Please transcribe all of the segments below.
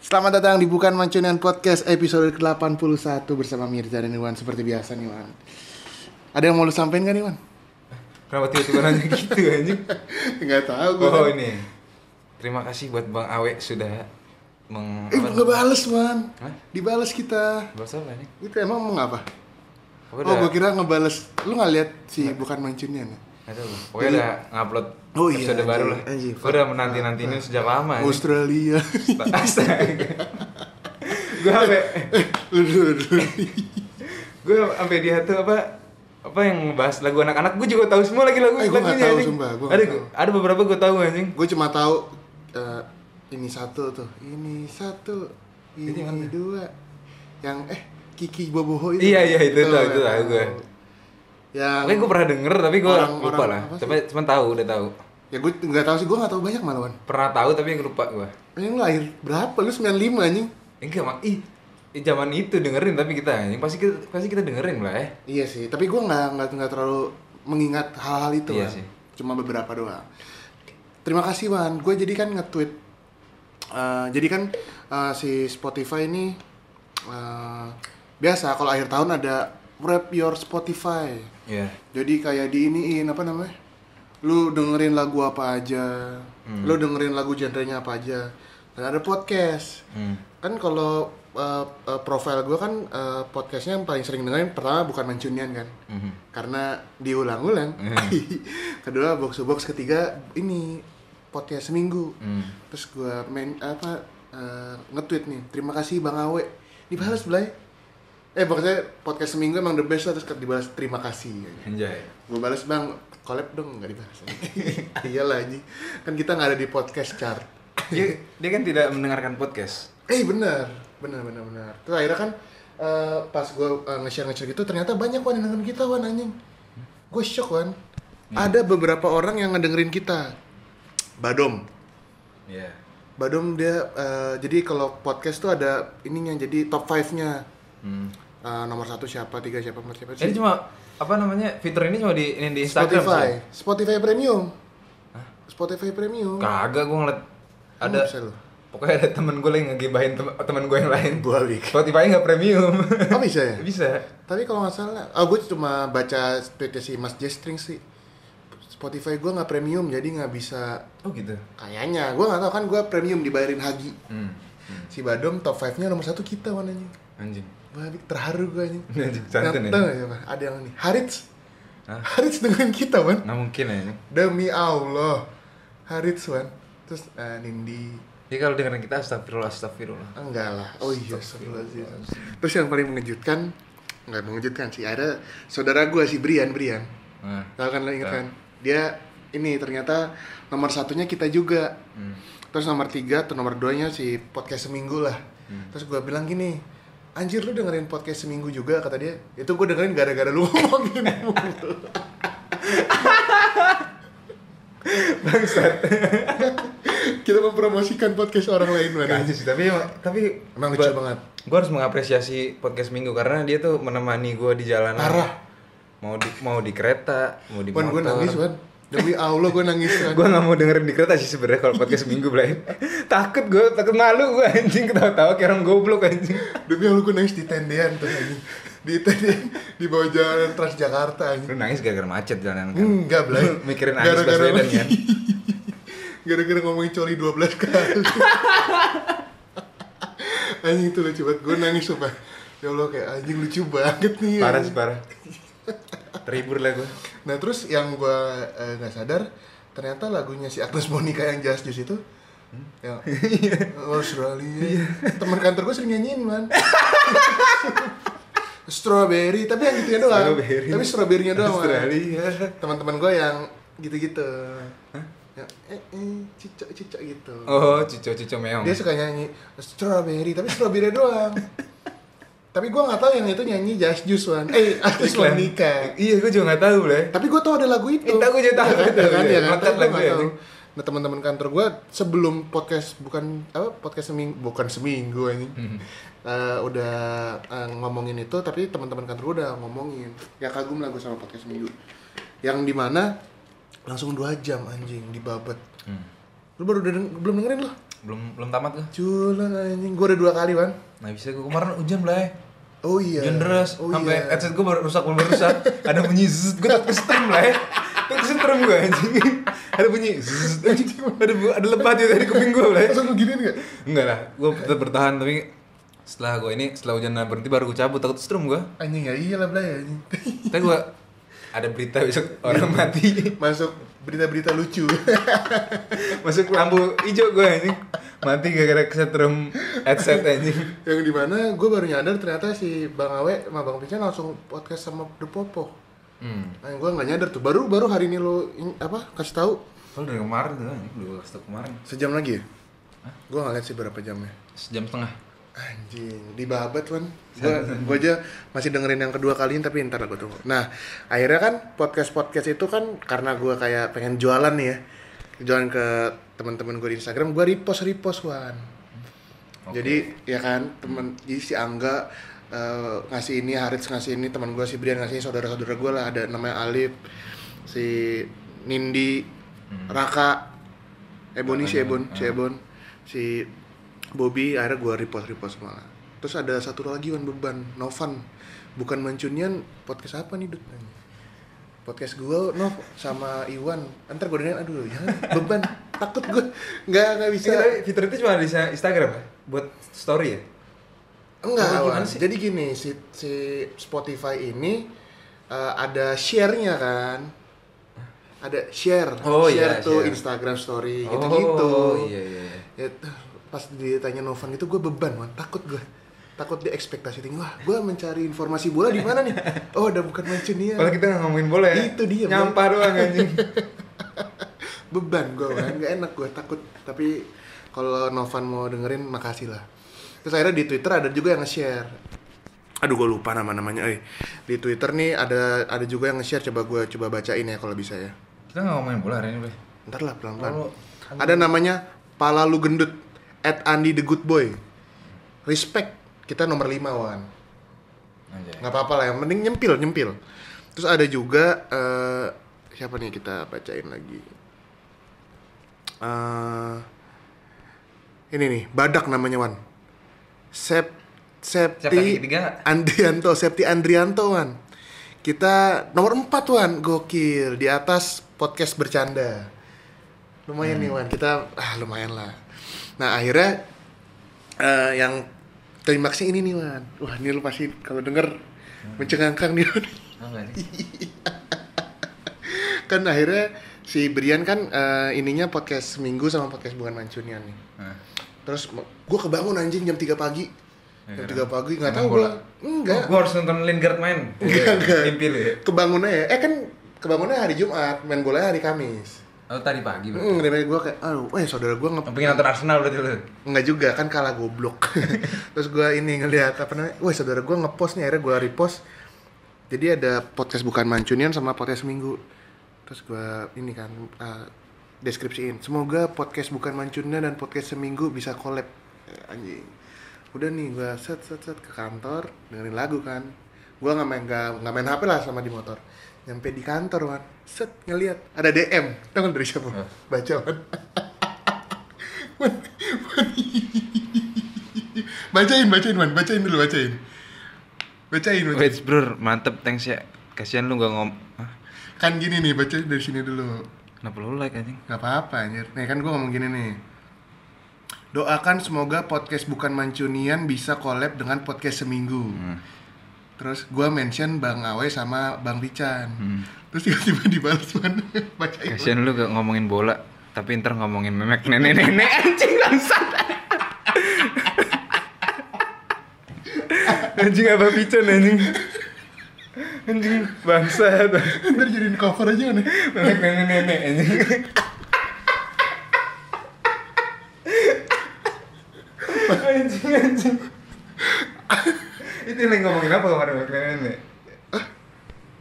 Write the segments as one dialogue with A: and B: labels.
A: Selamat datang di Bukan Mancunian Podcast episode ke-81 bersama Mirza dan Iwan seperti biasa nih Iwan. Ada yang mau lu sampein kan Iwan?
B: Kenapa tiba-tiba nanya gitu anjing?
A: Enggak tahu gue.
B: Oh ini. Terima kasih buat Bang Awe sudah meng
A: Eh,
B: apa-
A: nggak bales man.
B: Hah?
A: Dibales kita.
B: Bahasa apa nih?
A: Itu emang mau ngapa? Oh,
B: Gua udah-
A: gue kira ngebales. Lu nggak lihat si Bukan Mancunian ya?
B: Nggak tahu. Pokoknya udah ngupload
A: Oh iya,
B: episode
A: anjing,
B: baru lah.
A: anjing.
B: Gua udah menanti-nanti ini sejak lama. anjing.
A: Australia.
B: Astaga. Gua sampe
A: Eh, Aduh, aduh.
B: gua sampe dia tuh apa apa yang ngebahas lagu anak-anak gue juga tahu semua lagi lagu
A: Eh, gua nggak
B: lagunya
A: tahu,
B: anjing.
A: sumpah. Gua nggak
B: ada
A: tahu.
B: ada beberapa gue tahu anjing.
A: gue cuma tahu eh, ini satu tuh ini satu ini
B: Itu yang mana?
A: dua yang eh Kiki Boboho itu Ya,
B: Iya, iya, itu tahu, itu tahu gue.
A: yang
B: Tapi gue pernah denger tapi gue
A: Orang-
B: lupa
A: orang
B: lah.
A: apa sih?
B: Cuma cuman tahu udah tahu.
A: ya gue nggak tahu sih gue nggak tahu banyak malahan
B: Pernah tahu tapi lupa gue.
A: yang lahir berapa lu 95 anjing
B: Enggak mak, ih ih, zaman itu dengerin tapi kita anjing pasti kita pasti kita dengerin lah ya.
A: iya sih tapi gue nggak nggak nggak terlalu mengingat hal-hal itu Wan.
B: Iya sih.
A: cuma beberapa doang terima kasih Wan gue jadi kan nge-tweet eh, jadi kan eh, si Spotify ini eh, biasa kalau akhir tahun ada wrap your Spotify
B: Iya.
A: Jadi kayak di iniin apa namanya? Lu dengerin lagu apa aja?
B: Hmm.
A: Lu dengerin lagu genrenya apa aja? Dan ada podcast.
B: Hmm.
A: Kan kalau uh, uh, profile gua kan uh, podcastnya yang paling sering dengerin pertama bukan Mancunian kan?
B: Mhm.
A: Karena diulang-ulang. Kedua box to box, ketiga ini podcast seminggu.
B: Hmm.
A: Terus gua main apa uh, nge-tweet nih. Terima kasih Bang Awe. Dibalas, Blay. Eh pokoknya podcast seminggu emang the best lah terus dibalas terima kasih
B: Anjay.
A: gue balas bang collab dong nggak dibalas iyalah anjing kan kita nggak ada di podcast chart
B: Dia, dia kan tidak mendengarkan podcast.
A: eh bener bener bener bener terus akhirnya kan eh, pas gue nge-share nge-share gitu ternyata banyak wan yang dengerin kita wan anjing gue shock wan
B: Iya.
A: ada beberapa orang yang ngedengerin kita badom
B: Iya.
A: badom dia eh, jadi kalau podcast tuh ada ininya jadi top 5 nya
B: Hmm.
A: Eh, nomor satu siapa tiga siapa empat siapa
B: Ini Eh, cuma apa namanya fitur ini cuma di ini di Instagram
A: Spotify
B: sih.
A: Spotify Premium Spotify Premium
B: Kagak gue ngeliat ada
A: Bisa lu.
B: pokoknya ada temen gue lagi ngegibahin temen, temen gue yang lain.
A: Gua Wik.
B: Spotify nggak premium.
A: Oh bisa ya?
B: Iya. Bisa.
A: Tapi kalau nggak salah, oh gue cuma baca tweetnya si Mas Jestring sih. Spotify gue nggak premium jadi nggak bisa
B: Oh gitu.
A: kayaknya. Gue nggak tahu kan gue premium dibayarin Hagi.
B: Hmm.
A: Si Badom top 5 nya nomor satu kita mananya.
B: Anjing.
A: Wah, Wik, terharu gue anjing.
B: Anjing,
A: Nah,
B: santun ya.
A: tau nggak siapa? Ada yang ini. Harits.
B: Hah?
A: Harits dengerin kita, man.
B: Nggak mungkin ya. ini.
A: Demi Allah. Harits, man. Terus eh, Nindi.
B: Jadi kalau dengerin kita astagfirullah astagfirullah.
A: Enggak lah. Oh iya, astagfirullahaladzim. Terus yang paling mengejutkan, nggak mengejutkan sih, ada saudara gue si Brian, Brian.
B: Nah.
A: Tahu kan lo inget kan? Dia ini ternyata nomor satunya kita juga.
B: Hmm.
A: Terus nomor tiga atau nomor duanya si podcast seminggu lah.
B: Hmm.
A: Terus gue bilang gini, anjir lu dengerin podcast seminggu juga kata dia. Itu gue dengerin gara-gara lu ngomongin mulu." Kita mempromosikan podcast orang lain mana.
B: Kacau sih, tapi tapi
A: Emang lucu banget.
B: Gue harus mengapresiasi podcast Minggu karena dia tuh menemani gue di jalanan.
A: Parah.
B: Mau di mau di kereta, mau di
A: Wan
B: motor.
A: gue nangis, Wan. Demi Allah gue nangis, Wan.
B: Gue nggak mau dengerin di kereta sih sebenarnya kalau podcast Minggu Blay. takut gue, takut malu gue anjing ketawa-tawa kayak orang goblok anjing.
A: Demi Allah gue nangis di tendean tuh anjing. Di tendean di bawah jalan Transjakarta anjing.
B: Lu nangis gara-gara macet jalanan kan.
A: Enggak, Blay.
B: Lu mikirin Anies Baswedan kan.
A: Gara-gara ngomongin coli 12 kali. anjing itu lucu banget. Gue nangis sumpah. Ya Allah kayak anjing lucu banget nih.
B: Parah sih
A: anjing.
B: parah. Terhibur lah gue.
A: Nah, terus yang gue nggak sadar ternyata lagunya si Agnes Monica yang Just Juice itu yang
B: Iya.
A: Australia. Teman kantor gue sering nyanyiin, Man. Strawberry, tapi yang gitu doang.
B: Strawberry.
A: Tapi strawberry-nya doang. Man.
B: Australia.
A: Teman-teman gue yang gitu-gitu. Yang eh eh cicak-cicak gitu.
B: Oh, cucu-cucu meong.
A: Dia suka nyanyi strawberry, tapi strawberry doang. tapi gue nggak tahu yang itu nyanyi Just Juice, Man. Eh, Agnes
B: Iklan.
A: Monica.
B: Iya, gue juga nggak tahu Blay.
A: Tapi gue tau ada lagu itu.
B: Eh, tahu, gua juga tahu.
A: Iya kan,
B: Iya,
A: iya kan.
B: mantap
A: Tapi gua
B: lagu
A: nggak
B: ya.
A: tahu. Nah teman-teman kantor gue sebelum podcast bukan apa podcast seminggu bukan seminggu ini
B: Hmm.
A: udah eh, ngomongin itu tapi teman-teman kantor gue udah ngomongin ya kagum lah gue sama podcast seminggu yang dimana langsung dua jam anjing dibabat lu baru udah deng- belum dengerin lo
B: belum belum tamat gue
A: culan anjing gue udah dua kali kan
B: nggak bisa gue kemarin hujan Blay
A: oh iya
B: hujan deras
A: oh,
B: sampai
A: iya.
B: headset gue baru rusak baru rusak ada bunyi zzz gue takut kesetrum lah ya Takut kesetrum gue anjing ada bunyi zzz anjing ada bu- ada lebat ya dari kuping gue lah ya.
A: langsung lu giniin gak?
B: enggak lah gue tetap bertahan tapi setelah gue ini setelah hujan berhenti baru gue cabut takut kesetrum gue
A: anjing ya iyalah belai anjing
B: tapi gue ada berita besok orang mati
A: masuk berita-berita lucu
B: masuk lampu hijau gue anjing mati gara-gara kesetrum headset anjing
A: yang dimana gue baru nyadar ternyata si bang Awe sama bang Pican langsung podcast sama The Popo
B: hmm.
A: nah, gue nggak nyadar tuh baru baru hari ini lo in- apa kasih tahu
B: Kalau dari kemarin tuh, anjing. udah gue kasih tau kemarin
A: sejam lagi ya gue nggak lihat sih berapa jamnya
B: Sejam setengah
A: Anjing, dibabat kan. Gua, gua aja masih dengerin yang kedua kalinya tapi ntar gue tunggu. Nah, akhirnya kan podcast-podcast itu kan karena gua kayak pengen jualan nih ya. Jualan ke teman-teman gue di Instagram, gua repost-repost Wan.
B: Oke.
A: Jadi ya kan, temen jadi si Angga eh, ngasih ini, Harits ngasih ini, teman gua si Brian ngasih ini, saudara-saudara gua lah ada namanya Alif, si Nindi,
B: Hmm.
A: Raka, Ebony si
B: ya.
A: Ebon,
B: Ah.
A: si Ebon, si Bobby akhirnya gue repost repost malah. Terus ada satu lagi Wan beban, Novan. Bukan mancunian podcast apa nih Dut? Podcast gue Nov sama Iwan. Ntar gue dengerin aduh jangan beban takut gue nggak nggak bisa.
B: Iya, tapi fitur itu cuma ada di Instagram ya? Buat story ya?
A: Enggak,
B: Apa gimana
A: Wan.
B: sih?
A: jadi gini si si Spotify ini eh, ada share-nya kan. Ada share,
B: Oh,
A: share
B: iya,
A: tuh
B: share.
A: Instagram story gitu-gitu.
B: Oh, iya, iya. iya.
A: ya tuh, pas ditanya Novan itu gue beban man takut gue takut dia ekspektasi tinggi wah gue mencari informasi bola di mana nih oh udah bukan Mancunian
B: Padahal kita nggak ngomongin bola ya?
A: Itu dia, Bang.
B: Nyampah doang anjing.
A: beban gue kan nggak enak gue takut tapi kalau Novan mau dengerin makasih lah terus akhirnya di Twitter ada juga yang nge-share aduh gue lupa nama namanya eh di Twitter nih ada ada juga yang nge-share coba gue coba bacain ya kalau bisa ya
B: kita nggak ngomongin bola hari ini, Bleh.
A: ntar lah pelan pelan
B: Kalau-
A: ada namanya pala lu gendut at Andi the good boy respect kita nomor lima wan
B: Anjay.
A: nggak apa-apa lah yang penting nyempil nyempil terus ada juga eh, siapa nih kita bacain lagi Eh, ini nih badak namanya wan Sep
B: Siap kaki
A: Septi
B: ketiga nggak?
A: Andrianto Septi Andrianto wan kita nomor empat wan gokil di atas podcast bercanda lumayan nih
B: Hmm.
A: wan kita ah lumayan lah nah akhirnya eh, yang klimaksnya ini nih Wan wah ini lu pasti kalau denger
B: Hmm.
A: mencengangkan nih Wan.
B: Oh, nggak nih.
A: kan akhirnya si Brian kan eh, ininya podcast seminggu sama podcast bukan mancunian nih
B: Nah.
A: terus me- gua kebangun anjing jam 3 pagi jam 3 pagi nggak tahu
B: Ngomongin
A: gua
B: Iya. bola.
A: enggak
B: Oh, gua harus nonton Lingard main.
A: Nggak, nggak.
B: Mimpi lu ya?
A: kebangunnya ya eh kan kebangunnya hari Jumat main bola hari Kamis
B: Oh, tadi pagi, Bro.
A: Hmm, dari gue kayak, aduh, eh saudara gue nge
B: Pengen nonton Arsenal berarti lu.
A: Enggak juga kan kalah goblok. Terus gua ini ngelihat apa namanya? Wah, saudara gua ngepost nih akhirnya gua repost. Jadi ada podcast bukan Mancunian sama podcast Minggu. Terus gua ini kan uh, deskripsiin. Semoga podcast bukan Mancunian dan podcast Seminggu bisa collab. Eh, Anjing. Udah nih gua set set set ke kantor dengerin lagu kan. Gua nggak main nggak nggak main HP lah sama di motor. Nyampe di kantor, man. Set ngelihat ada DM. Tahu nggak dari siapa?
B: Eh.
A: Baca, man. bacain bacain man bacain dulu bacain bacain, bacain.
B: Wait, Bro, mantep thanks ya. Kasihan lu nggak ngom. Hah?
A: kan gini nih bacain dari sini dulu
B: Kenapa lu like anjing?
A: nggak apa-apa anjir nih kan gue ngomong gini nih doakan semoga podcast bukan mancunian bisa collab dengan podcast seminggu terus gue mention bang Awe sama bang Rican terus tiba-tiba dibalas man bacain Man.
B: Kasihan lu gak ngomongin bola, tapi ntar ngomongin memek nenek-nenek anjing langsat. anjing apa pican anjing? Anjing bangsa
A: ntar jadiin cover aja nih
B: memek nenek-nenek anjing. anjing anjing. Itu yang lagi ngomongin apa kemarin memek nenek-nenek?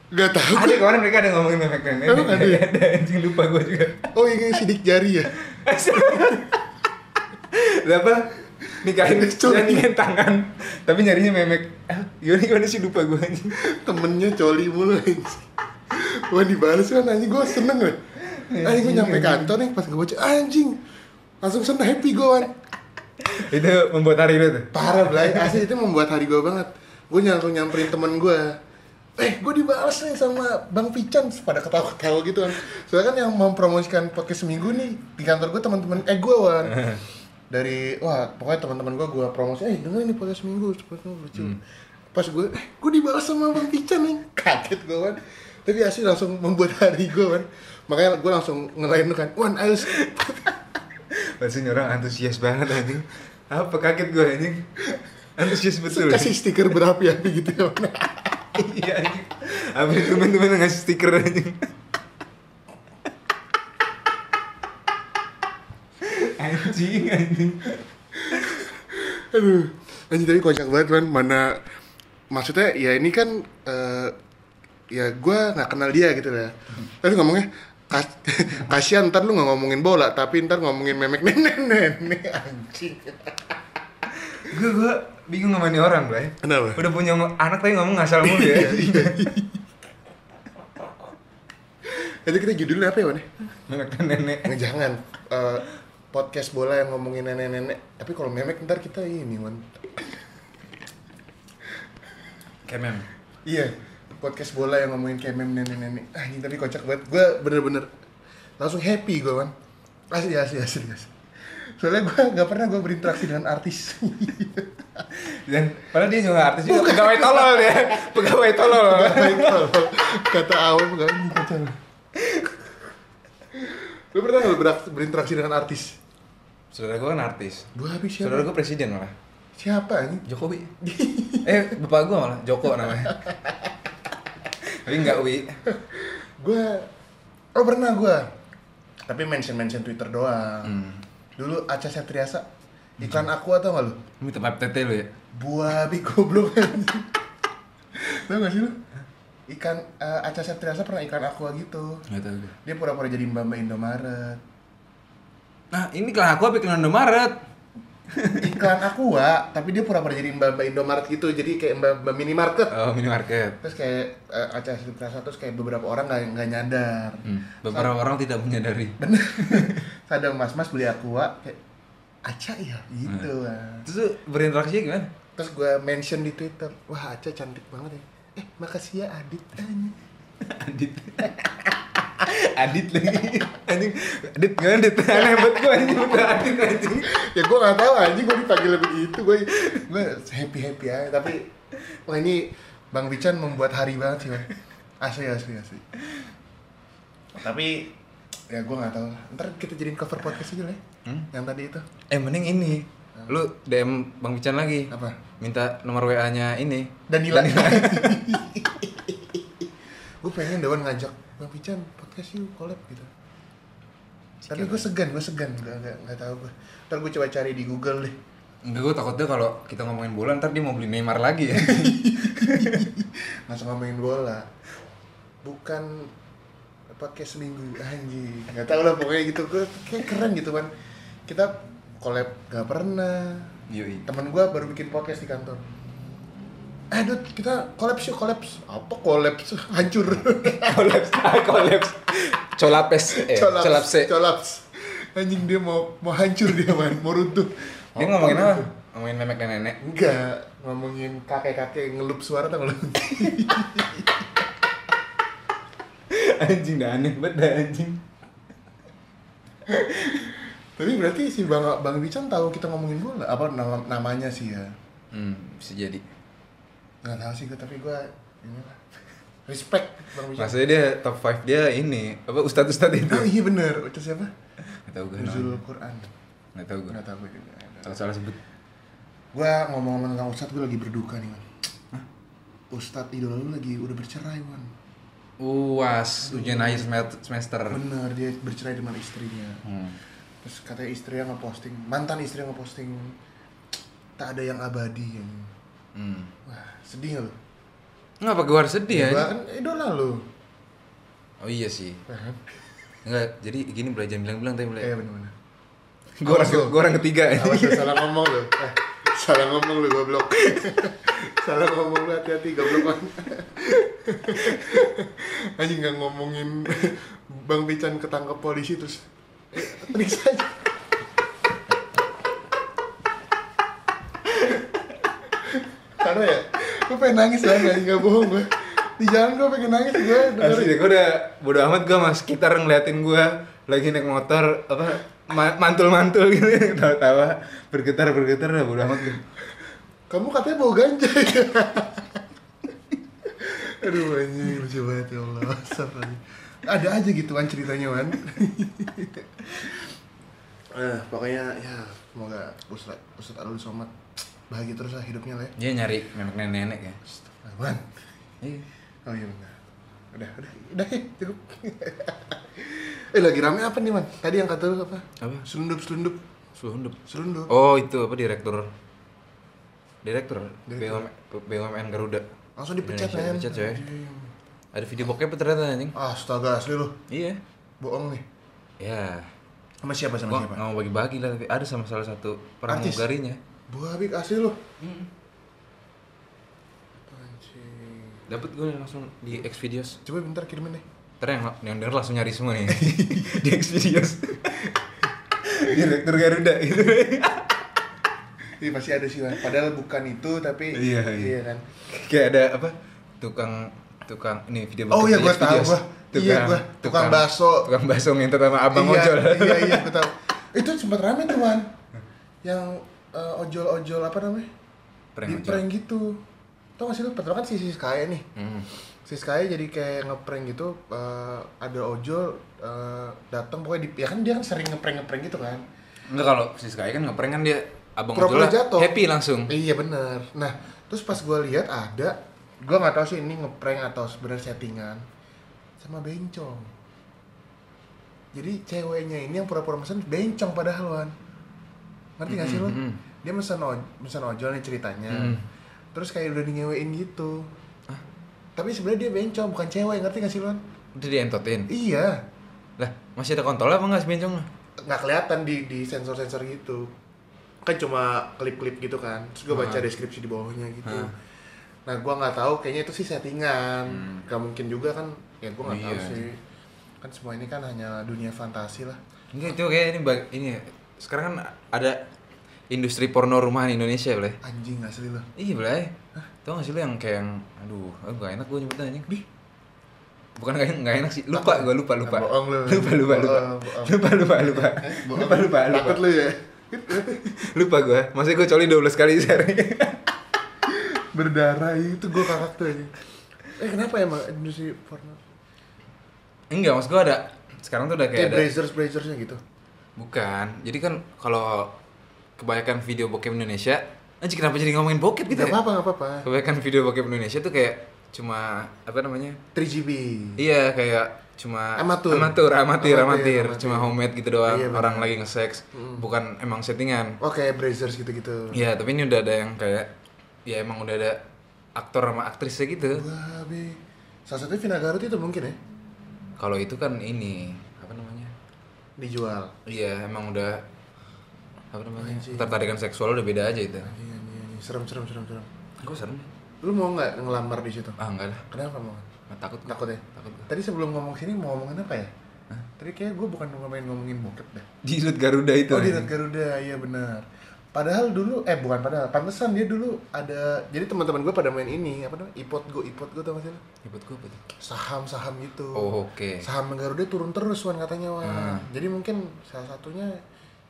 A: Gak tahu.
B: Ada kemarin mereka ada ngomongin memek memek.
A: Emang ada ya?
B: Ada anjing lupa gue juga.
A: Oh ini sidik jari ya?
B: Lah apa? Nikahin
A: Curi.
B: ya, nikahin tangan. Tapi nyarinya memek. Ah, gimana gimana sih lupa gue anjing.
A: Temennya coli mulu anjing. Wah dibales kan anjing gue seneng loh. Anjing gue nyampe kantor nih pas gue baca anjing. Langsung seneng happy gue Wan.
B: Itu membuat hari lu tuh.
A: Parah Blay, asli itu membuat hari gue banget Gue langsung nyamperin temen gue Eh, gue dibales nih sama Bang Pican pada ketawa-ketawa gitu kan Soalnya kan yang mempromosikan podcast seminggu nih Di kantor gue teman-teman, eh gue Wan Dari, wah pokoknya teman-teman gue gue promosi Eh, dengerin nih podcast seminggu, podcast seminggu lucu Pas gue, eh gue dibales sama Bang Pican nih Kaget gue Wan Tapi asli langsung membuat hari gue Wan Makanya gue langsung ngelain lu kan Wan, ayo
B: Maksudnya orang antusias banget anjing. Apa kaget gue anjing. Antusias betul.
A: kasih stiker berapi-api gitu ya Wan
B: Iya anjing. Apa itu teman-teman yang ngasih stiker anjing. Anjing anjing.
A: Aduh, anjing tapi kocak banget man. Mana maksudnya ya ini kan eh, ya gua nggak kenal dia gitu lah. Terus ngomongnya "Kas- kasihan ntar lu nggak ngomongin bola tapi ntar ngomongin memek nenek nenek anjing.
B: Gue gue bingung sama ini orang lah.
A: Kenapa?
B: Udah punya ngo- anak tapi ngomong ngasal mulu ya.
A: Jadi kita judulnya apa ya, Wan?
B: Memek dan kan nenek.
A: Nggak, Jangan Eh, podcast bola yang ngomongin nenek-nenek. Tapi kalau memek ntar kita ini, Wan.
B: Kemem.
A: Iya, podcast bola yang ngomongin kemem nenek-nenek. Anjing tapi kocak banget. Gue bener-bener langsung happy gue man. Asli, asli, asli, asli. Soalnya gue nggak pernah gue berinteraksi dengan artis.
B: Dan padahal dia juga artis juga pegawai tolol ya. Pegawai tolol.
A: Baik, kalau Kata kan. awam gak ini kocak. lu. Lu pernah nggak berak- berinteraksi dengan artis?
B: Saudara gue kan artis.
A: Gue habis
B: Saudara
A: siapa?
B: gue presiden malah.
A: Siapa anjing?
B: Jokowi. eh, bapak gue malah Joko namanya. Tapi enggak Wi.
A: Gue, oh pernah gue. Tapi mention-mention Twitter doang. Dulu Aca Septriasa iklan aku atau nggak lu?
B: Ini tempat tete lu ya.
A: Buah api goblok anjing. Tau gak sih lu? Ikan, eh, Aca Septriasa pernah ikan aqua gitu
B: Enggak tahu gue.
A: Dia pura-pura jadi mbak mbak Indomaret
B: Nah, ini kelah aku apa iklan Indomaret?
A: Iklan aqua, tapi dia pura-pura jadi mbak mbak Indomaret gitu Jadi kayak mbak mbak minimarket
B: Oh, minimarket.
A: Terus kayak eh, Aca Septriasa terus kayak beberapa orang gak, nggak nyadar
B: Hmm. Beberapa orang tidak menyadari.
A: Bener Sadar mas-mas beli aqua kayak Aca ya gitu ah.
B: Terus lu berinteraksinya gimana?
A: Terus gue mention di Twitter Wah Aca cantik banget ya Eh makasih ya Adit anjing.
B: Adit. Adit lagi. Anjing. Adit gimana Adit? Aneh banget gue anjing udah Adit anjing.
A: ya gue nggak tahu aja gue dipanggil begitu gue gue happy happy aja tapi wah ini bang Bican membuat hari banget sih Bang. asli asli asli tapi ya gue nggak tahu lah ntar kita jadiin cover podcast aja lah ya.
B: Hmm?
A: yang tadi itu
B: Eh, mending ini. Lu DM Bang Bican lagi.
A: apa
B: Minta nomor WA-nya ini.
A: Danila gue pengen Dewan ngajak bang Bican podcast yuk collab gitu tapi gue segan gue segan nggak nggak nggak tahu gue ntar gue coba cari di Google deh
B: Enggak, gue takutnya kalau kita ngomongin bola ntar dia mau beli Neymar lagi ya.
A: langsung ngomongin bola bukan pakai seminggu anjing nggak tahu lah pokoknya gitu gue kayak keren gitu kan kita collab gak pernah
B: Yoi.
A: temen gue baru bikin podcast di kantor eh Dut, kita collab yuk collab apa collab hancur
B: Kolaps, ah, kolaps. Colapes, eh,
A: Collapse,
B: colapse.
A: collapse. anjing dia mau mau hancur dia man mau runtuh
B: Dia ngomongin apa? Ngomongin memek dan nenek.
A: enggak ngomongin kakek-kakek ngelup suara tau nggak lu?
B: Anjing dah aneh banget dah anjing.
A: Tapi berarti si Bang Bang Bican tahu kita ngomongin bola apa nama- namanya sih ya?
B: Hmm, bisa jadi.
A: Nggak tahu sih gue tapi gue ini lah. Respect Bang Bican.
B: Maksudnya dia top 5 dia ini apa ustadz ustadz itu?
A: Oh iya bener, itu siapa?
B: Gak tau gue.
A: Nuzul Quran.
B: Gak tau gue.
A: Nggak tahu gue juga.
B: Salah salah sebut.
A: Gue ngomong-ngomong tentang Ustadz gue lagi berduka nih man. Ustadz idola lu lagi udah bercerai man.
B: Uas ujian akhir semet- semester.
A: Bener dia bercerai dengan istrinya.
B: Hmm.
A: Terus katanya istrinya ngeposting mantan istrinya ngeposting tak ada yang abadi yang.
B: Hmm.
A: Wah sedih nggak lu?
B: Kenapa gue harus sedih
A: Gua
B: ya?
A: kan idola lu.
B: Oh iya sih. Enggak, jadi gini boleh jangan bilang-bilang tapi boleh.
A: Iya benar-benar.
B: Gue orang,
A: Awas lu.
B: gua orang ketiga ya.
A: Awas lu salah ngomong lu. Eh, salah ngomong lu goblok. salah ngomong lu hati-hati goblok. Anjing nggak ngomongin Bang Pican ketangkep polisi terus eh, periksa aja. Karena ya, gue pengen nangis ya, nggak nggak bohong gue. Di jalan gue pengen nangis gue. dengerin.
B: Asli, gue udah bodo amat gue mas sekitar ngeliatin gue lagi naik motor apa ma- mantul-mantul gitu tawa-tawa bergetar bergetar udah bodo amat gue.
A: Kamu katanya bau ganja ya? Aduh anjing lucu banget ya Allah Asap anjing. Ada aja gitu kan ceritanya Wan
C: Eh, pokoknya ya
A: Semoga Ustadz Ustadz Alun Somad bahagia terus lah hidupnya lah ya
B: Dia nyari nenek nenek ya.
A: Astagfirullah, Wan
B: Iya.
A: Oh iya benar Udah udah udah ya cukup Eh lagi rame apa nih Wan? Tadi yang kata lu apa?
B: Apa?
A: Selundup selundup
B: Selundup.
A: Selundup
B: Oh itu apa direktur direktur
A: Direktur.
B: BUMN, BUMN Garuda.
A: Langsung dipecat kan?
B: Indonesia, Dipecat coy. Ada video bokep ternyata anjing.
A: Astaga asli lu
B: Iya.
A: Bohong nih
B: Ya.
A: Sama siapa sama
B: Gua
A: siapa?
B: nggak mau bagi-bagi lah tapi ada sama salah satu
A: Artis?
B: pramugarinya.
A: Buah Habib asli lu
B: Dapat gue langsung di X videos.
A: Coba bentar kirimin deh
B: Ntar yang, yang denger langsung nyari semua nih Di Xvideos Direktur Garuda gitu
A: Iya pasti ada sih Wan. Padahal bukan itu tapi
B: Iya, iya.
A: kan.
B: Kayak ada apa Tukang Tukang Nih video
A: Oh
B: bokep
A: iya
B: di
A: gua tahu
B: Xvideos.
A: gua. Iya gua tukang bakso.
B: Tukang bakso minta sama abang
A: iya,
B: ojol
A: Iya iya gua tahu. Itu sempat rame tuh Wan. Yang eh, ojol-ojol apa namanya?
B: Prank
A: Di
B: ojol.
A: prank gitu. Tau gak sih lu pertama kan si si Skye nih.
B: Hmm.
A: Si Skye jadi kayak ngeprank gitu eh, ada ojol eh, datang pokoknya di ya kan dia kan sering ngeprank-ngeprank gitu kan.
B: Enggak kalau si Sky kan ngeprank kan dia Abang
A: Pura-pura
B: ojolnya
A: jatuh.
B: Happy langsung
A: Iya benar. Nah, terus pas gua lihat ada gua nggak tahu sih ini ngeprank atau sebenarnya settingan sama bencong. Jadi ceweknya ini yang pura-pura mesen bencong padahal Wan. Ngerti gak sih lu?
B: Mm-mm, mm-mm.
A: Dia mesen, oj- mesen ojol nih ceritanya.
B: Mm.
A: Terus kayak udah di nyewein gitu. Tapi sebenarnya dia bencong, bukan cewek, ngerti gak sih lu? Wan?
B: Udah dientotin
A: Iya.
B: Lah masih ada kontol apa nggak si bencong?
A: nggak kelihatan di di sensor-sensor gitu kan cuma klip-klip gitu kan terus gue baca
B: Ah.
A: deskripsi di bawahnya gitu
B: Ah.
A: nah gue nggak tahu kayaknya itu sih settingan gak mungkin juga kan ya gue nggak
B: Oh,
A: tahu
B: Hmm. iya.
A: sih kan semua ini kan hanya dunia fantasi lah
B: Enggak itu kayak ini, bag- ini ya. Sekarang kan ada Industri porno rumahan Indonesia boleh
A: anjing asli loh
B: Iya belai. Tau gak sih lu yang kayak yang aduh, aku gak enak gue nyebutnya anjing. Bukan gak enak, gak enak sih. Lupa gue lupa
A: Ah,
B: lupa.
A: bohong lu.
B: Lupa lupa lupa.
A: Bohong, bohong. Eh,
B: Lupa lupa lupa. Lupa lupa lupa.
A: takut lu ya
B: Lupa gue. Masih gue coli 12 kali sehari.
A: berdarah itu gue kakak tuh aja eh kenapa emang industri porno
B: Enggak, maksud gue ada sekarang tuh udah kayak
A: kayak
B: ada
A: blazers blazersnya gitu
B: bukan. Jadi kan kalau kebanyakan video bokep Indonesia, anjir kenapa jadi ngomongin bokep gitu
A: nggak
B: ya?
A: apa-apa nggak apa-apa
B: Kebanyakan video bokep Indonesia tuh kayak cuma apa namanya?
A: 3GB
B: Iya kayak cuma
A: Amatur.
B: amatir, amatir,
A: Amatir,
B: amatir.
A: amatir.
B: cuma homemade gitu doang.
A: Iya, benar. Hmm.
B: Orang lagi nge-sex, bukan emang settingan.
A: oh kayak blazers gitu-gitu
B: Iya, tapi ini udah ada yang kayak ya emang udah ada aktor sama aktrisnya gitu.
A: Babe. Salah satunya Vina Garut itu mungkin ya
B: Kalau itu kan ini apa namanya?
A: dijual.
B: Iya, emang udah apa namanya?
A: Anjing.
B: Tertarikan seksual udah beda aja itu.
A: Iya iya iya serem serem serem serem.
B: Gue serem. deh.
A: Lu mau nggak ngelamar di situ?
B: Ah, enggak lah.
A: Kenapa mau?
B: Nggak takut gua.
A: Takut ya?
B: Takut gua.
A: Tadi sebelum ngomong sini mau ngomongin apa ya? Tadi kayak gue bukan ngomongin ngomongin bokep deh.
B: Jilat Garuda itu.
A: Oh di Red
B: anjing.
A: Garuda, iya benar. Padahal dulu, eh bukan padahal, pantesan dia dulu ada, jadi teman-teman gue pada main ini, apa namanya, ipot go, ipot go tau gak sih lu?
B: Ribet gua apa tuh?
A: Saham-saham gitu.
B: Oh, oke.
A: Saham Garuda turun terus, Wan katanya, Wan.
B: Ah.
A: Jadi mungkin salah satunya,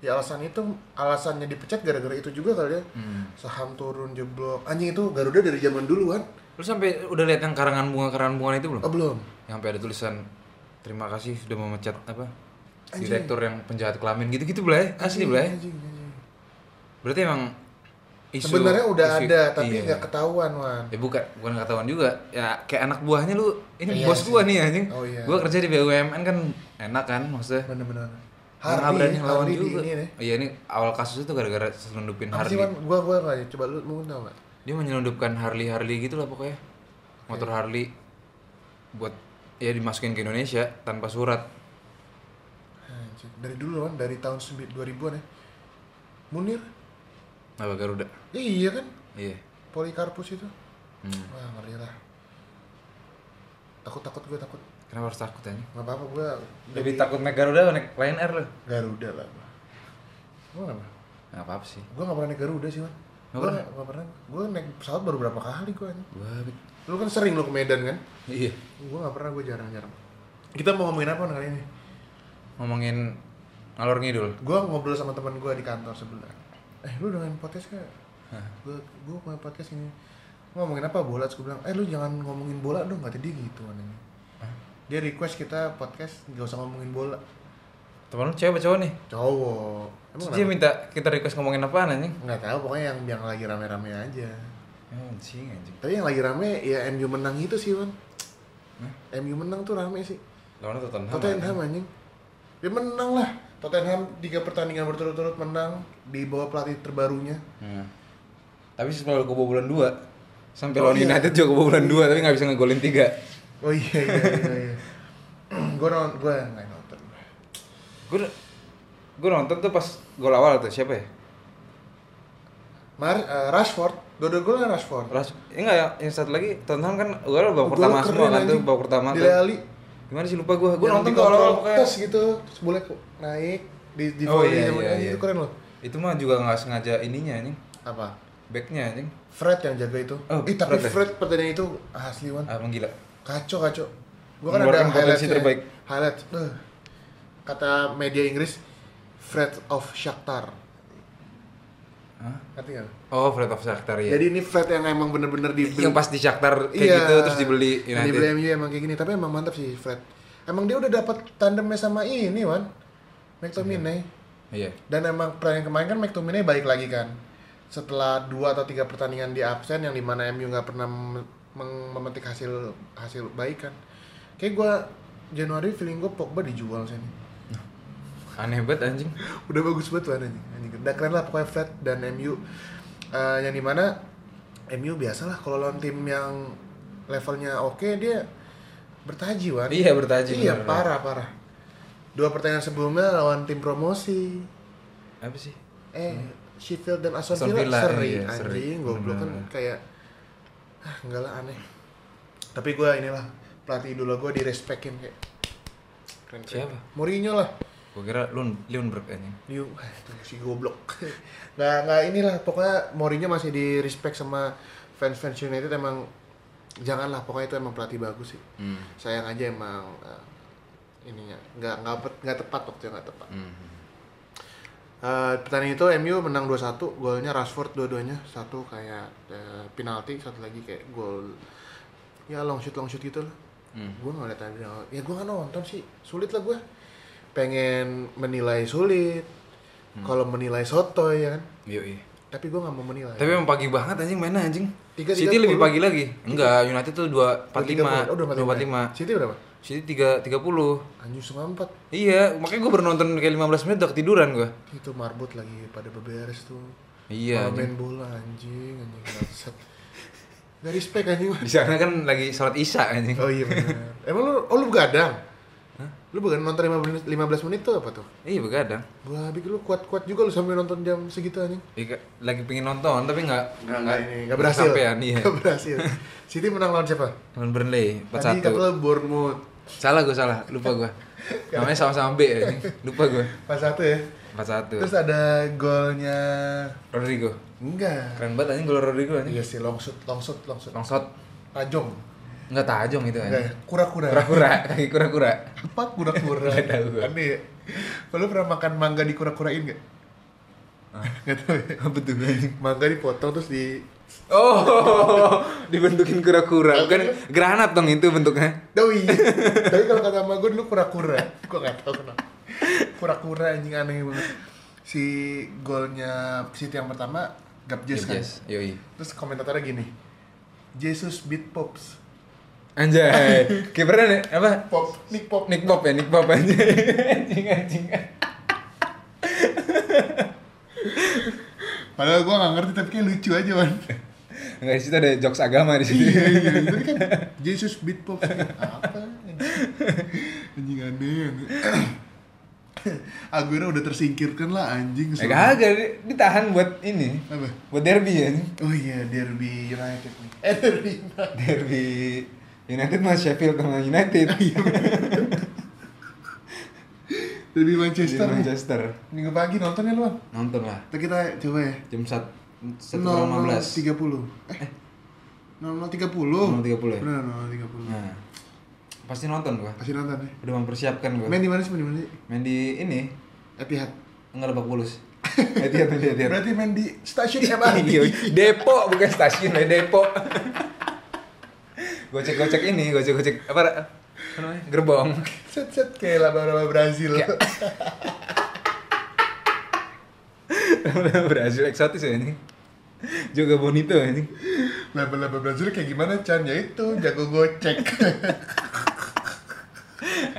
A: ya alasan itu, alasannya dipecat gara-gara itu juga kali ya.
B: Hmm.
A: saham turun jeblok anjing itu Garuda dari zaman dulu kan
B: Lu sampai udah lihat yang karangan bunga-karangan bunga itu belum?
A: oh, belum
B: yang sampai ada tulisan terima kasih sudah memecat apa
A: Anjing.
B: direktur yang penjahat kelamin gitu-gitu belai asli belai
A: Anjing, anjing.
B: berarti emang isu
A: sebenarnya udah
B: isu-
A: ada tapi
B: iya.
A: nggak ketahuan wan
B: ya bukan bukan ketahuan juga ya kayak anak buahnya lu ini
A: Iya
B: bos
A: sih.
B: gua nih anjing
A: Oh iya.
B: gua kerja di BUMN kan enak kan maksudnya
A: bener-bener
B: Hardy,
A: Hardy,
B: berani ngelawan
A: Hardy di
B: juga.
A: ini nih
B: iya ini awal kasus itu gara-gara selundupin
A: apa sih
B: Harley.
A: wan gua gua nggak coba ya? lu mungkin tau nggak
B: Dia menyelundupkan Harley Harley gitu lah pokoknya.
A: oke
B: motor Harley buat ya dimasukin ke Indonesia tanpa surat
A: Anjir, dari dulu kan dari tahun 2000-an ya Munir
B: apa Garuda
A: ya iya kan
B: iya
A: Polikarpus itu
B: Hmm.
A: wah ngeri lah takut takut gue takut
B: kenapa harus takut aja
A: nggak apa apa gue
B: lebih takut naik Garuda atau naik Lion Air lo
A: Garuda lah gue nggak
B: nggak apa, apa sih
A: gue nggak pernah naik Garuda sih man
B: Nggak
A: gue
B: pernah?
A: nggak pernah gue naik pesawat baru berapa kali gue
B: Wah, bet-
A: lu kan sering lu ke Medan kan
B: iya
A: gue nggak pernah gue jarang jarang kita mau ngomongin apa kali ini
B: ngomongin ngalor ngidul
A: gue ngobrol sama teman gue di kantor sebelah eh lu udah main podcast kak gue gue main podcast ini ngomongin apa bola terus gue bilang eh lu jangan ngomongin bola dong kata dia gitu anehnya dia request kita podcast nggak usah ngomongin bola
B: teman lu cewek apa cowok nih
A: cowok
B: Terus
A: emang
B: dia
A: kenapa?
B: minta kita request ngomongin apaan anjing
A: nggak tahu pokoknya yang yang lagi rame-rame aja
B: anjing anjing
A: tapi yang lagi rame ya MU menang itu sih man MU menang tuh rame sih
B: lawannya Tottenham anjing.
A: Tottenham anjing. Dia menang lah. Tottenham tiga pertandingan berturut-turut menang di bawah pelatih terbarunya.
B: Nah. Tapi setelah kebobolan 2 sampai
A: Oh,
B: lawan
A: iya.
B: United juga kebobolan 2 tapi nggak bisa ngegolin 3.
A: Oh iya iya iya. iya. gue nonton, gue nggak nonton.
B: Gue gue nonton tuh pas gol awal tuh siapa ya?
A: Mar, eh, Rashford, dua-dua golnya Rashford.
B: Ras eh, enggak ya, yang satu lagi Tottenham kan gol babak
A: Gol
B: pertama
A: keren,
B: semua kan tuh
A: anjing.
B: babak pertama
A: Dele
B: tuh.
A: Alli.
B: Gimana sih lupa gue? Gue
A: Yang
B: nonton tuh
A: dikontrol
B: awal pokoknya.
A: tes gitu, terus boleh kok naik di di
B: Oh,
A: volley
B: iya,
A: sama-
B: iya,
A: anjing,
B: iya.
A: itu keren loh.
B: Itu mah juga nggak sengaja ininya anjing.
A: Apa?
B: Backnya anjing.
A: Fred yang jaga itu.
B: Oh,
A: Ih, tapi
B: Fred ya?
A: Fred, pertandingan itu asli wan.
B: Ah, emang gila.
A: Kacau kacau. Gua kan ada
B: Mengeluarkan potensi
A: highlight
B: terbaik.
A: Highlight. Eh, Kata media Inggris Fred of Shakhtar.
B: Hah?
A: Ngerti nggak?
B: Oh, Fred of Shakhtar ya.
A: Jadi ini Fred yang emang bener-bener di
B: yang pas di Shakhtar kayak gitu terus dibeli
A: United.
B: United.
A: Iya. Dibeli MU emang kayak gini, tapi emang mantap sih Fred. Emang dia udah dapat tandemnya sama ini, Wan. McTominay.
B: Iya.
A: Dan emang pertandingan kemarin kan McTominay balik lagi kan. Setelah dua atau tiga pertandingan di absen yang dimana MU nggak pernah mem- meng- memetik hasil hasil baik kan. Kayak gua Januari feeling gue Pogba dijual sih nih.
B: Aneh banget anjing.
A: Udah bagus banget lah anjing. anjing. Udah keren lah pokoknya Fred dan MU. Eh, yang dimana MU biasalah kalau lawan tim yang levelnya oke dia bertaji wan.
B: Iya, bertaji,
A: Iya
B: bener.
A: parah parah. Dua pertandingan sebelumnya lawan tim promosi.
B: Apa sih?
A: Eh, Sheffield dan Aston
B: Hmm. Aston
A: Villa,
B: Villa,
A: seri
B: iya, seri.
A: anjing goblok kan
B: Bener.
A: kayak ah enggak lah aneh. Tapi gue inilah pelatih idola gue direspekin kayak keren, keren.
B: Siapa?
A: Mourinho lah.
B: Gue kira Lun Leonberg anjing.
A: Liu, ah, itu si goblok. nggak nggak inilah pokoknya Mourinho masih di respect sama fans-fans United emang janganlah pokoknya itu emang pelatih bagus sih.
B: Hmm.
A: Sayang aja emang eh, ininya nggak nggak pe- nggak tepat waktunya nggak tepat.
B: Hmm.
A: Eh, pertandingan itu MU menang 2-1, golnya Rashford dua-duanya, satu kayak eh, penalti, satu lagi kayak gol ya long shoot long shoot gitu lah.
B: Hmm.
A: Gue ngeliat aja, ya gue nggak nonton sih, sulit lah gue. Pengen menilai sulit,
B: Hmm.
A: kalau menilai soto ya kan,
B: Yoi.
A: tapi gue nggak mau menilai.
B: Iya, Tapi emang pagi banget anjing mainnya anjing.
A: Tiga-
B: City
A: tiga
B: lebih
A: puluh.
B: pagi lagi. Enggak, United tuh 245.
A: 2.30. Oh, 2.45.
B: 245.
A: City berapa?
B: City 3 30.
A: Anjing setengah empat,
B: Iya, makanya gue baru nonton kayak 15 menit udah ketiduran gue.
A: itu marbot lagi pada beberes tuh. Malah
B: Iya. anjing.
A: main bola anjing, anjing bangsat. Gak respect anjing.
B: Di sana kan lagi sholat isya anjing.
A: Oh iya benar. Emang lu oh lu begadang? Lu begadang nonton 15 15 menit tuh apa tuh?
B: Iya begadang.
A: Gua habis lu kuat-kuat juga lu sambil nonton jam segitu anjing.
B: Iya, Kak. lagi pengen nonton tapi nggak
A: enggak berhasil.
B: Sampean iya.
A: Enggak berhasil. City menang lawan siapa?
B: Lawan Burnley
A: Tadi
B: 4-1.
A: kata lu Bournemouth.
B: Salah gue salah, lupa gue. Namanya sama-sama B ya, anjing. lupa gue.
A: Pas satu ya.
B: 4-1.
A: Terus ada golnya
B: Rodrigo.
A: enggak.
B: Keren banget anjing gol Rodrigo anjing.
A: Iya sih long shoot, long shoot, long shoot.
B: Long shot.
A: Tajong.
B: Enggak tajong itu
A: Enggak
B: anjing.
A: ya? Kura-kura.
B: Kura-kura, kaki kura-kura.
A: Apa kura-kura?
B: Nggak tahu gua.
A: Aneh ya. Lu pernah makan mangga dikura-kurain enggak? Enggak tahu ya.
B: Apa tuh anjing?
A: Mangga dipotong terus di
B: Oh, dibentukin kura-kura. Bukan granat dong itu bentuknya.
A: Doi. Tapi kalau kata sama gue dulu kura-kura. Gue gak tau kenapa. Kura-kura anjing aneh banget. Si golnya City yang pertama Gabjes kan.
B: Yes, yoi.
A: Terus komentatornya gini. Jesus beat Pops.
B: Anjay. Kipernya nih, apa?
A: Pop, Nick Pop.
B: Nick Bob ya, Nick Bob anjing. Anjing anjing.
A: Padahal gue gak ngerti tapi kayak lucu aja man.
B: Enggak di situ ada jokes agama di situ.
A: iya iya itu kan Jesus beatbox apa anjing aneh Aguero udah tersingkirkan lah anjing
B: Ya
A: semua.
B: kagak, di- ditahan buat ini.
A: apa
B: Buat derby ya.
A: oh iya derby United nih eh derby United.
B: Derby United mas Sheffield sama United.
A: derby
B: Di
A: Manchester nih.
B: Manchester.
A: minggu pagi nonton ya lu Wan?
B: Nonton lah.
A: Ntar kita coba ya
B: Jam 1 1
A: 00.30 eh 00.30
B: 00.30 ya?
A: bener 00.30
B: Nah. Pasti nonton gua.
A: pasti nonton ya
B: Udah mempersiapkan gua.
A: main di mana sih main di mana sih Eh,
B: Main di ini
A: Etihad
B: enggak lebak bulus. Etihad main di Etihad.
A: berarti main di stasiun
B: Iya,
A: MRT
B: Depok bukan stasiun, ya Depok. Gocek-gocek ini, gocek-gocek apa? apa namanya? Gerbong.
A: set set kayak laba-laba Brazil
B: Berhasil eksotis ya ini. Juga bonito ya ini.
A: laba-laba Brazil kayak gimana Chan ya itu jago gocek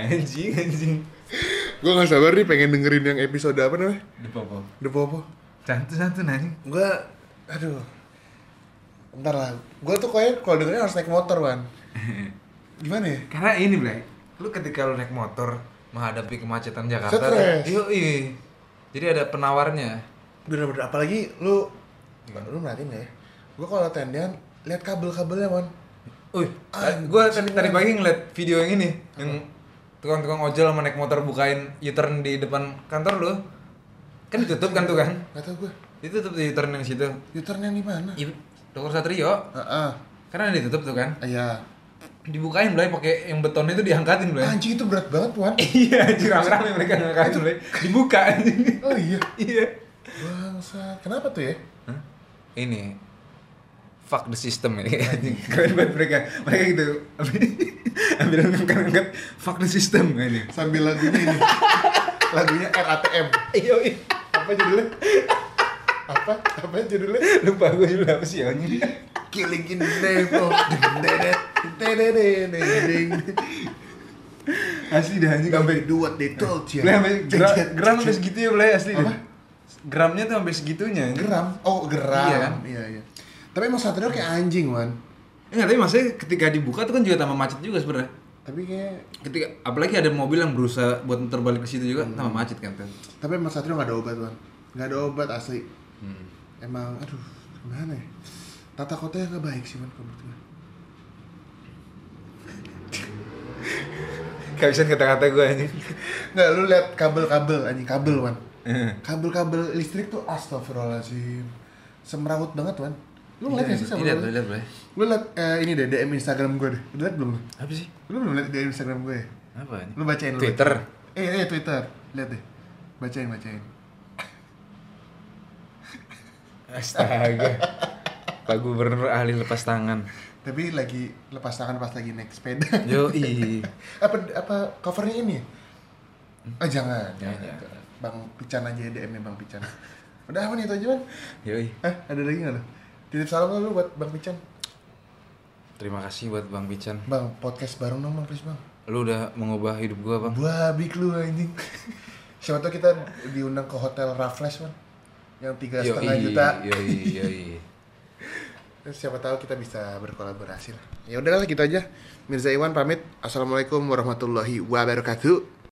B: Anjing, anjing.
A: gue gak sabar nih pengen dengerin yang episode apa namanya
B: Depok.
A: The Popo
B: Santun-santun anjing.
A: gue aduh ntar lah gue tuh kayak kalau dengerin harus naik motor wan gimana ya
B: Karena ini, Blay. Lu ketika lu naik motor menghadapi kemacetan Jakarta,
A: Stres.
B: yoi. Jadi ada penawarnya.
A: bener-bener apalagi lu lu merhatiin gak ya gue kalau tendian lihat kabel-kabelnya wan
B: Uy, gue tadi, tadi pagi ngeliat video yang ini yang tukang-tukang ojol sama naik motor bukain U-turn di depan kantor lu kan ditutup kan tuh kan
A: gak tau gue
B: ditutup di U-turn yang situ
A: U-turn yang di mana
B: Ibu- Dokter Satrio
A: ah
B: karena ditutup tuh kan
A: ah iya
B: dibukain mulai pakai yang betonnya itu diangkatin mulai
A: anjing itu berat banget wan
B: iya anjir, rame-rame mereka ngangkatin mulai dibuka anjing.
A: oh iya
B: iya
A: bangsa kenapa tuh ya
B: Hah? ini fuck the system ini anjing. keren banget mereka mereka gitu ambil angkat-angkat fuck the system ini
A: sambil lagunya ini lagunya RATM
B: Iya,
A: apa judulnya apa apa judulnya
B: lupa gue juga apa sih anjing.
A: Killing in the name of dedet dededededing.
B: Asli dah anjing sampai
A: They do what they told you
B: Blay, sampai Iya. gra-
A: Jejet,
B: gram sampai
A: jejet.
B: segitu ya Blay asli
A: Apa?
B: dah. Gramnya tuh sampai segitunya. Gram.
A: geram oh geram
B: Iya
A: iya
B: kan?
A: iya iya tapi emang Satrio kayak anjing wan
B: Enggak, tapi maksudnya ketika dibuka tuh kan juga tambah macet juga sebenarnya.
A: tapi kayak
B: Ketika apalagi ada mobil yang berusaha buat muter balik ke situ juga tambah macet kan tuh.
A: tapi emang Satrio nggak ada obat wan nggak ada obat asli
B: Hmm.
A: emang aduh gimana ya tata kotanya nggak baik sih wan kalau menurut gue.
B: Kehabisan kata-kata gue anjing.
A: nggak lu lihat kabel-kabel anjing kabel wan
B: Eh.
A: kabel-kabel listrik tuh astagfirullahaladzim semrawut banget wan lu ngeliat
B: Iya,
A: gak sih sama
B: Lihat,
A: lu?
B: lihat, Blay.
A: lu liat eh, ini deh DM Instagram gue deh lu liat belum lu?
B: Apa sih?
A: lu belum liat DM Instagram gue ya?
B: Apa ini?
A: lu bacain lu
B: Twitter.
A: bacain. eh eh Twitter liat deh bacain bacain
B: Astaga. Pak Gubernur ahli lepas tangan.
A: tapi lagi lepas tangan pas lagi naik sepeda
B: Yo, i.
A: apa apa covernya ini ya? ah jangan
B: Jangan,
A: jangan,
B: jangan.
A: bang Pican aja DM nya bang Pican udah apa nih itu aja Wan?
B: Yo,
A: Hah, ada lagi nggak lu? titip salam lu buat bang Pican
B: Terima kasih buat Bang Pican.
A: bang podcast bareng dong bang please bang
B: Lu udah mengubah hidup gua, Bang.
A: Babi lu anjing. Siapa tau kita diundang ke hotel Raffles man, yang tiga setengah
B: Yoi,
A: juta.
B: Yoi, yoi.
A: Terus Siapa tahu kita bisa berkolaborasi lah. Ya udahlah gitu aja. Mirza Iwan pamit. Assalamualaikum warahmatullahi wabarakatuh.